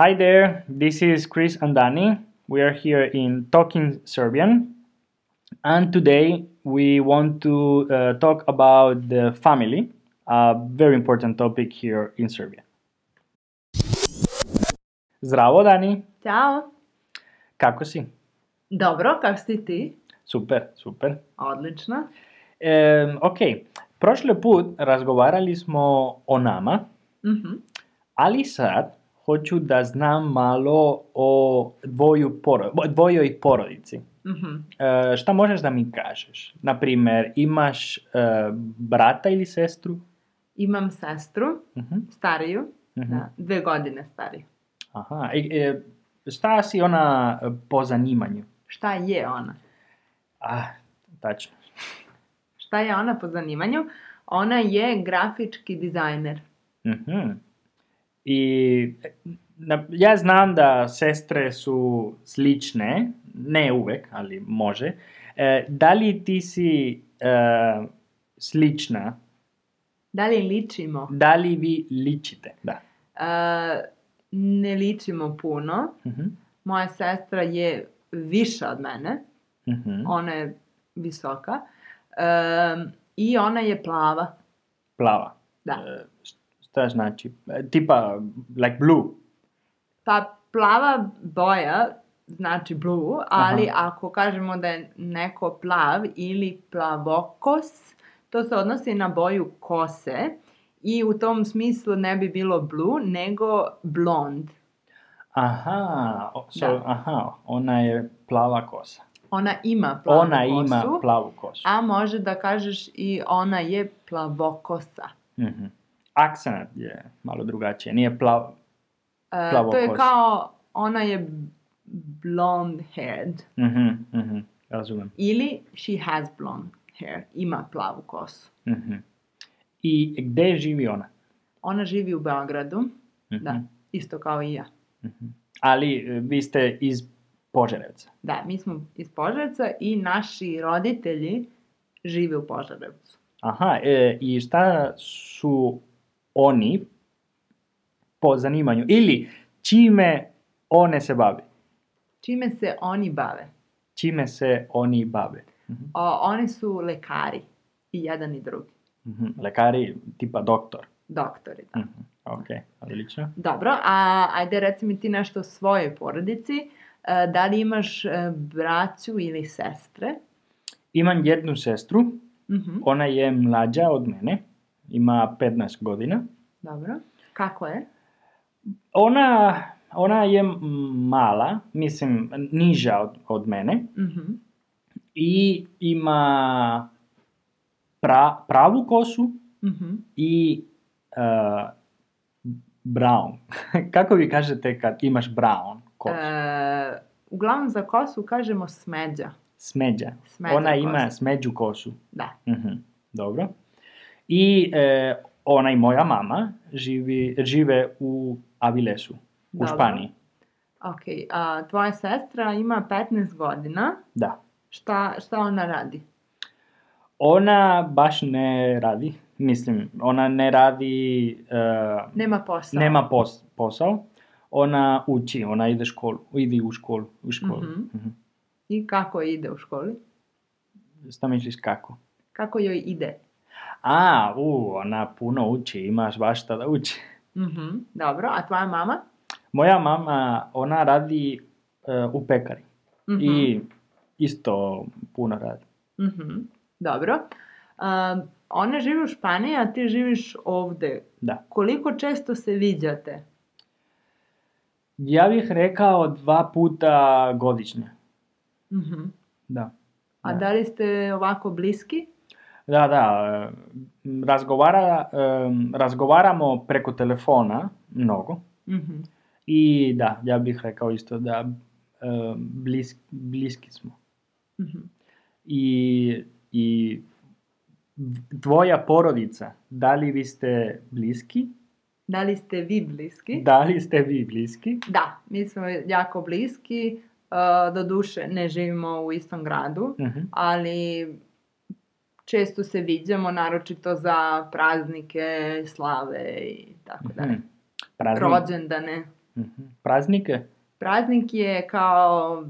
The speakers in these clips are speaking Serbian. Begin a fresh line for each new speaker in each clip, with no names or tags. Hi there, this is Chris and Dani. We are here in Talking Serbian, and today we want to uh, talk about the family, a very important topic here in Serbia. Zdravo, Dani,
Ćao.
kako si?
Dobro, kak si ti?
Super, super.
Odlično.
Em, ok, prošli put razgovarali smo o nama,
Mhm.
ali sad hoću da znam malo o dvoju poro, dvojoj porodici.
mhm.
E, šta možeš da mi kažeš? Na primjer, imaš e, brata ili sestru?
Imam sestru,
Mhm,
stariju,
mhm.
da, dve godine stariju.
Aha, e, e, šta si ona e, po zanimanju?
Šta je ona?
Ah, tačno.
Šta je ona po zanimanju? Ona je grafički dizajner.
Mhm. I e, na- ja znam da sestre su slične, ne uvek, ali može. E, da li ti si e, slična?
Da li ličimo?
Da li vi ličite? Da.
E, ne ličimo puno.
Mhm,
Moja sestra je više od mene.
mhm.
Ona je visoka. E, I ona je plava.
Plava.
Da.
E, šta znači? E, Tipa, like blue.
Pa plava boja znači blue, ali ako kažemo da je neko plav ili plavokos, to se odnosi na boju kose i u tom smislu ne bi bilo blue, nego blond.
Aha, o- so,
Da.
aha, ona je plava kosa.
Ona ima plavu
ona
kosu,
ima plavu kosu.
a može da kažeš i ona je plavokosa.
Mhm. Akcenat je malo drugačije, nije plav...
E, to je
Plavokosa.
kao ona je blonde haired
Mhm, mhm, razumem.
ili she has blonde hair, ima plavu kosu.
Mhm. I gdje živi ona?
Ona živi u Beogradu,
Mhm,
Da, isto kao i ja.
mhm. Ali e, vi ste iz Požarevca.
Da, mi smo iz Požarevca i naši roditelji žive u Požarevcu.
Aha, e, i šta su oni po zanimanju? Ili čime one se bavi?
Čime se oni bave?
Čime se oni bave? Mhm.
O, oni su lekari, i jedan i drugi,
Mhm, Lekari, tipa doktor.
doktori. Da.
Mhm, Ok, odlično.
Dobro, a ajde reci mi ti nešto o svojoj porodici. E, Da li imaš e, braću ili sestre?
Imam jednu sestru,
Mhm,
ona je mlađa od mene, ima 15 godina.
Dobro. Kako je?
Ona, ona je mala, mislim, niža od, od mene
Mhm,
i ima pra- pravu kosu
mhm.
i uh, brown. Kako vi kažete kad imaš brown kosu?
E, uglavnom za kosu kažemo smeđa.
Smeđa.
smeđa
ona ima
kosa.
smeđu kosu.
Da.
Mhm, dobro. I e, ona i moja mama živi, žive u Avilesu, u
Dobro.
Španiji.
Ok, a tvoja sestra ima 15 godina,
Da.
šta, šta ona radi?
Ona baš ne radi, mislim, ona ne radi, e,
Nema posla.
nema pos- posao, ona uči, ona ide školu, idi u školu, u školu.
Mhm.
Mhm.
I kako ide u školi? Mhm.
Šta misliš kako?
Kako joj ide?
A, u, ona puno uči, imaš baš šta da uči.
Mhm, Dobro, a tvoja mama?
Moja mama, ona radi e, u pekari
Mhm,
i isto puno radi.
mhm, Dobro. A, ona živi u Španiji, a ti živiš ovde.
Da.
Koliko često se viđate?
Ja bih rekao dva puta godišnje.
Mhm.
Da.
A
Da.
da li ste ovako bliski?
Da, da. e, Razgovara, em, razgovaramo preko telefona mnogo.
Mhm.
I da, ja bih rekao isto da em, blis- bliski smo.
mhm.
I, I tvoja porodica, da li vi ste bliski?
Da li ste vi bliski?
Da li ste vi bliski?
Da, mi smo jako bliski, do duše ne živimo u istom gradu,
Mhm.
ali često se viđamo, naročito za praznike, slave i tako dalje.
Mhm. Praznik-
Rođendane.
Mhm. Praznike?
Praznik je kao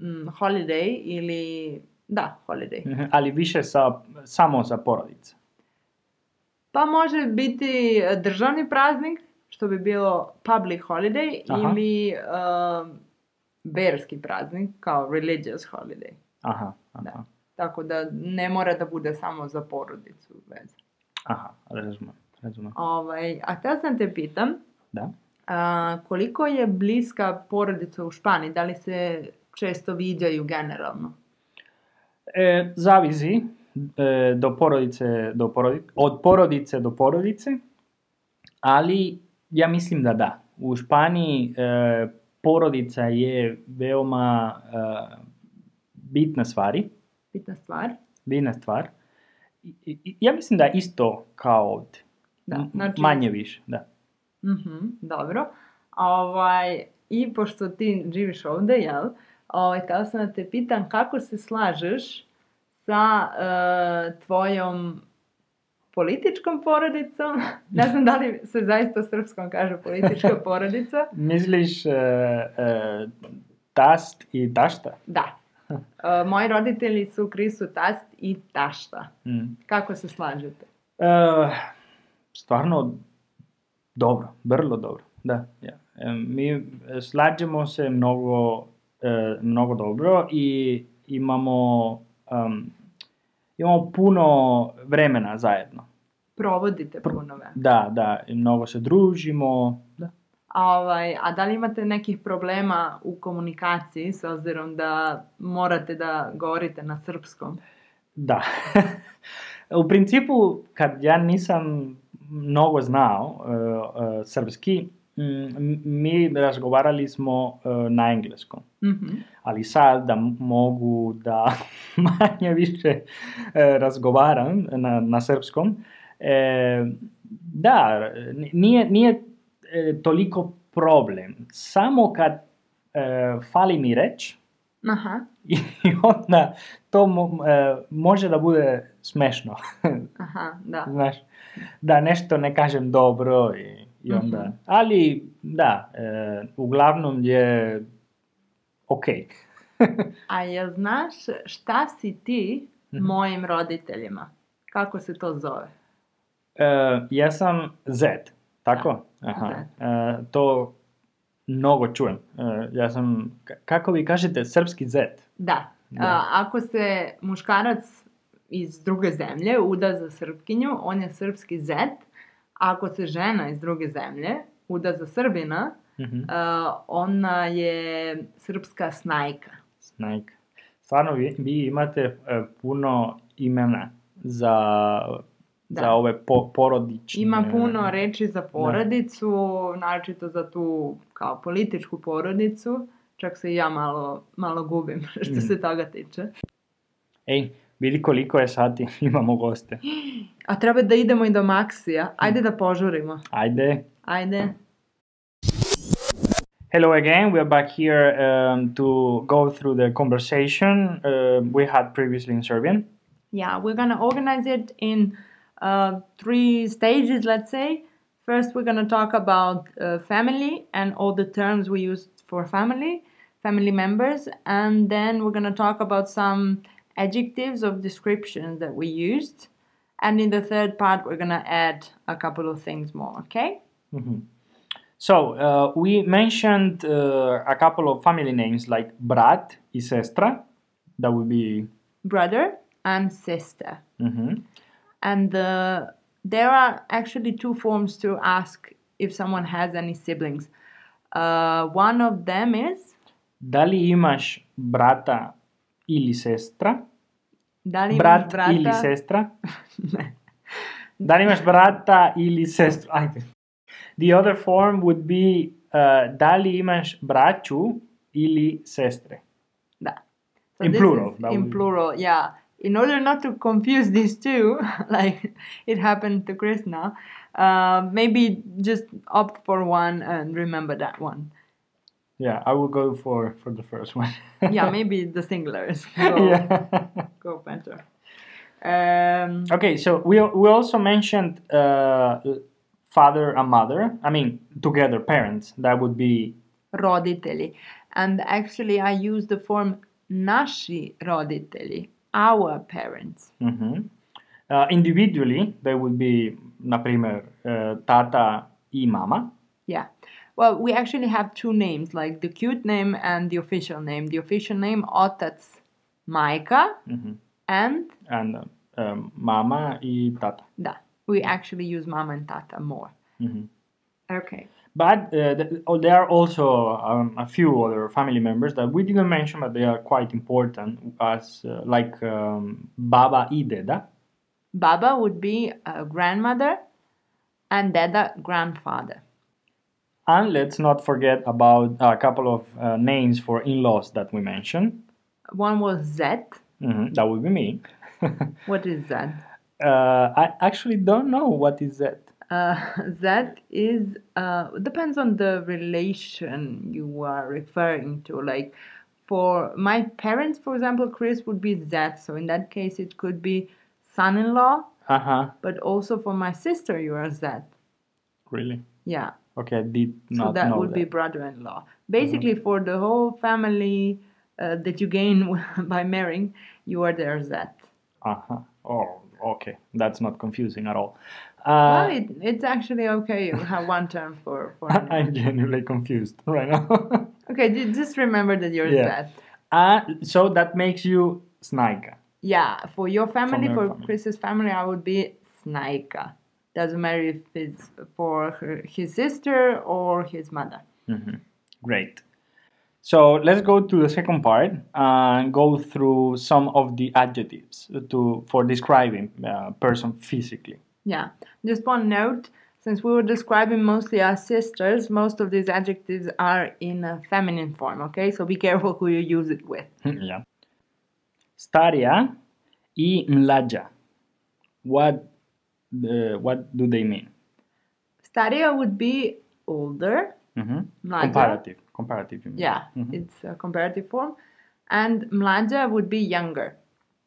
mm, holiday ili... Da, holiday.
Mhm. Ali više sa, samo za porodice.
Pa može biti e, državni praznik, što bi bilo public holiday,
Aha.
ili um, verski praznik, kao religious holiday.
Aha, aha.
Da. Tako da ne mora da bude samo za porodicu veza.
Aha, razumem, razumem.
Ovaj, a tad sam te pitam,
Da.
a, koliko je bliska porodica u Španiji? Da li se često viđaju generalno?
E, zavisi e, do porodice, do porodi, od porodice do porodice, ali ja mislim da da. U Španiji e, porodica je veoma e, bitna stvari,
Bitna stvar.
bitna stvar. I- i- Ja mislim da isto kao ovdje.
Da,
M-
znači-
Manje više, da.
Mhm, dobro. Ovaj, I pošto ti živiš ovdje, jel? Ovaj, htjela sam da te pitam kako se slažeš sa e, tvojom političkom porodicom. ne znam da li se zaista u srpskom kaže politička porodica.
Misliš e, e, tast i tašta?
Da. E, moji roditelji su Krisu tast i tašta.
Mm.
Kako se slažete?
Eh, stvarno dobro, vrlo dobro. Da, ja. Eh, Mi eh, slađemo se mnogo, eh, mnogo dobro i imamo, em, imamo puno vremena zajedno.
Provodite puno vremena.
Da, da, i mnogo se družimo. Da.
A, ovaj, a da li imate nekih problema u komunikaciji s obzirom da morate da govorite na srpskom?
Da. U principu, kad ja nisam mnogo znao eh, eh, srpski, mm, mi razgovarali smo eh, na engleskom.
Mhm.
ali sad da m- mogu da manje više e, razgovaram na, na srpskom, e, da, n- nije, nije e, toliko problem. Samo kad e, fali mi reč,
Aha,
i onda to mo- e, može da bude smešno,
aha, da.
znaš, da nešto ne kažem dobro i, i onda,
Mhm.
ali da, e, uglavnom je okej.
A jel znaš šta si ti
Mhm.
mojim roditeljima? Kako se to zove?
E, ja sam Z, tako? Aha. E, to mnogo čujem. E, ja sam, k- kako vi kažete, srpski Z?
Da.
Da.
A, ako se muškarac iz druge zemlje uda za srpkinju, on je srpski zet. Ako se žena iz druge zemlje uda za srbina,
Mhm.
a, ona je srpska snajka.
Snajka. Stvarno, vi, vi imate e, puno imena za,
Da.
za ove po, porodične...
Ima puno reči za
Da.
porodicu, naročito za tu kao političku porodicu. Čak se i ja malo, malo gubim što
Mm.
se toga tiče.
Ej, vidi koliko je sati, imamo goste.
A treba da idemo i do Maksija.
Mm.
Ajde da požurimo.
Ajde.
Ajde.
Hello again. We are back here um, to go through the conversation uh, we had previously in Serbian.
Yeah, we're gonna organize it in uh, three stages, let's say. First, we're gonna talk about uh, family and all the terms we use for family, family members, and then we're gonna talk about some adjectives of description that we used. And in the third part, we're gonna add a couple of things more, okay?
Mhm. So uh, we mentioned uh, a couple of family names like brat i sestra. That would be.
Brother and sister.
Mhm.
And uh, there are actually two forms to ask if someone has any siblings. Uh, one of them is
Da li imaš brata ili sestra?
da li imaš
Brat eh?
brata?
ili sestra? Da li imaš brata ili sestru? Ajde. The other form would be uh, da li imaš braću ili sestre?
Da.
In
this
plural,
is
that
In
would be-
plural, yeah. In order not to confuse these two, like it happened to Chris now, uh, maybe just opt for one and remember that one.
Yeah, I will go for, for the first one.
Yeah, maybe the singulars go,
yeah.
go Um, better. Um,
Okay, so we we also mentioned uh, father and mother, I mean, together parents, that would be
roditelji. And actually, I use the form naši roditelji, our parents.
mhm. Uh, individually, they would be, na primer, uh, tata i mama.
Yeah. Well, we actually have two names, like the cute name and the official name. The official name, otac majka, and
and uh, um, mama i tata.
da. We actually use mama and tata more. Okay.
But uh, th- oh, there are also um, a few other family members that we didn't mention, but they are quite important, as uh, like um, Baba i Deda.
Baba would be a grandmother, and dada grandfather.
And let's not forget about a couple of uh, names for in-laws that we mentioned.
One was Zet.
Mhm, That would be me.
What is Zet?
Uh, I actually don't know what is that.
Uh, that is uh, depends on the relation you are referring to. Like for my parents, for example, Chris would be that. So in that case, it could be son-in-law,
Uh huh.
but also for my sister, you are that.
Really?
Yeah,
Okay, I did
so
not
that
know
would
that. Mm-hmm.
be brother-in-law. Basically, for the whole family uh, that you gain by marrying, you are their that.
Uh huh. Oh, okay. That's not confusing at all.
well,
Uh,
it, it's actually okay. You have one term for for. a name.
I'm genuinely confused right now.
okay, ju- just remember that you're
Yeah.
that.
uh, so that makes you Snaika.
Yeah, for your family,
your
for
family.
Chris's family, I would be Snaika. Doesn't matter if it's for her, his sister or his mother.
Great. So let's go to the second part and go through some of the adjectives to for describing a person physically.
Yeah. Just one note since we were describing mostly our sisters, most of these adjectives are in a feminine form, okay? So be careful who you use it with.
yeah. Staria i mlađa. What the, what do they mean?
Staria would be older,
Mhm.
mlađa.
Comparative. Mm-hmm. Comparative. You mean.
Yeah, it's a comparative form. And mlađa would be younger.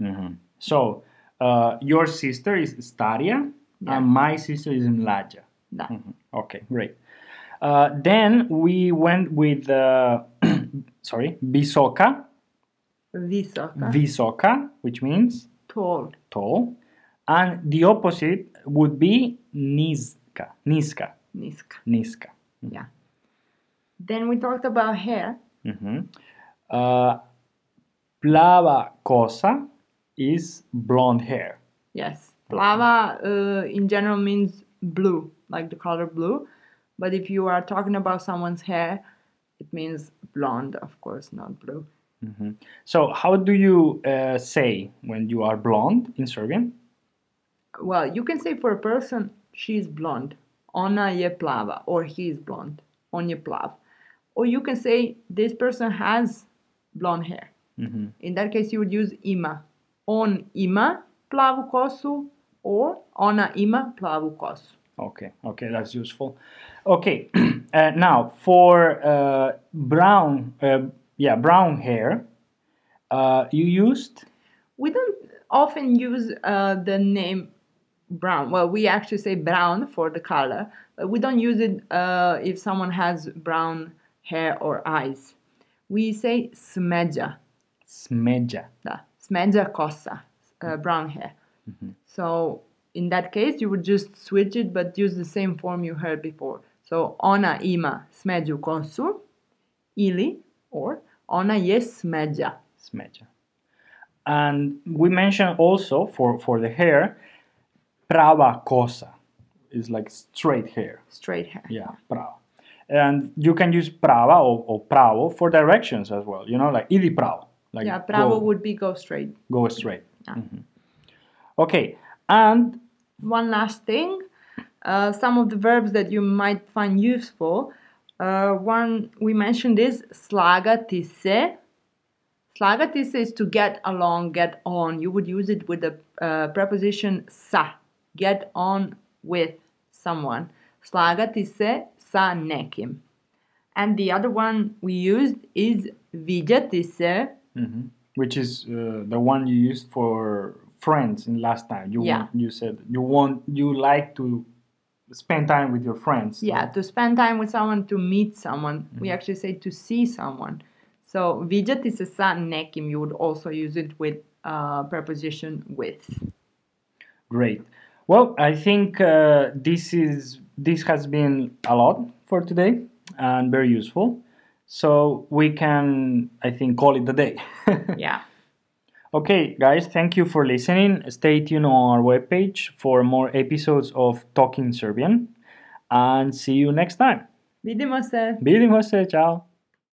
Mhm. So uh, your sister is Staria
Yeah.
and my sister is mlađa.
Da.
Mm-hmm. Okay, great. Uh, then we went with uh, sorry, visoka, Mm.
Visoka.
visoka, which means
tall.
tall, and the opposite would be niska, niska,
Niska.
niska.
Yeah. Then we talked about hair.
Mhm. Uh, plava cosa is blonde hair.
Yes. Plava uh, in general means blue, like the color blue. But if you are talking about someone's hair, it means blonde, of course, not blue.
So how do you uh, say when you are blonde in Serbian?
Well, you can say for a person, she's blonde. Ona je plava, or he is blonde. On je plav. Or you can say, this person has blonde hair. In that case, you would use ima. On ima plavu kosu, or ona ima plavu kosu.
Okay, okay, that's useful. Okay, uh, now for uh, brown, uh, yeah, brown hair, uh, you used
We don't often use uh, the name brown. Well, we actually say brown for the color, but we don't use it uh, if someone has brown hair or eyes. We say smeđa,
smeđa.
da, smeđa kosa,
Mm-hmm.
uh, brown hair. So in that case, you would just switch it, but use the same form you heard before. So ona ima smeđu kosu, ili, or, ona je smeđa.
smeđa. And we mentioned also for, for the hair, prava kosa is like straight hair.
Straight hair.
Yeah, prava. And you can use prava or, or pravo for directions as well. You know, like idi pravo. Like
Yeah, pravo
go,
would be go straight.
go straight.
Yeah.
Mhm. Okay, and
One last thing, uh, some of the verbs that you might find useful. Uh, one we mentioned is slagati se. Slagati se is to get along, get on. You would use it with the uh, preposition sa, get on with someone. Slagati se sa nekim. And the other one we used is vidjati se.
Mhm. which is uh, the one you used for friends in last time. You
Yeah.
want, you said you want you like to spend time with your friends.
Yeah, to spend time with someone, to meet someone. We actually say to see someone. So viđati se sa nekim, you would also use it with uh, preposition with.
Great. Well, I think uh, this is this has been a lot for today and very useful. So we can, I think, call it a day.
Yeah.
Okay, guys, thank you for listening. Stay tuned on our webpage for more episodes of Talking Serbian, and see you next time.
Vidimo se.
Vidimo se, ciao.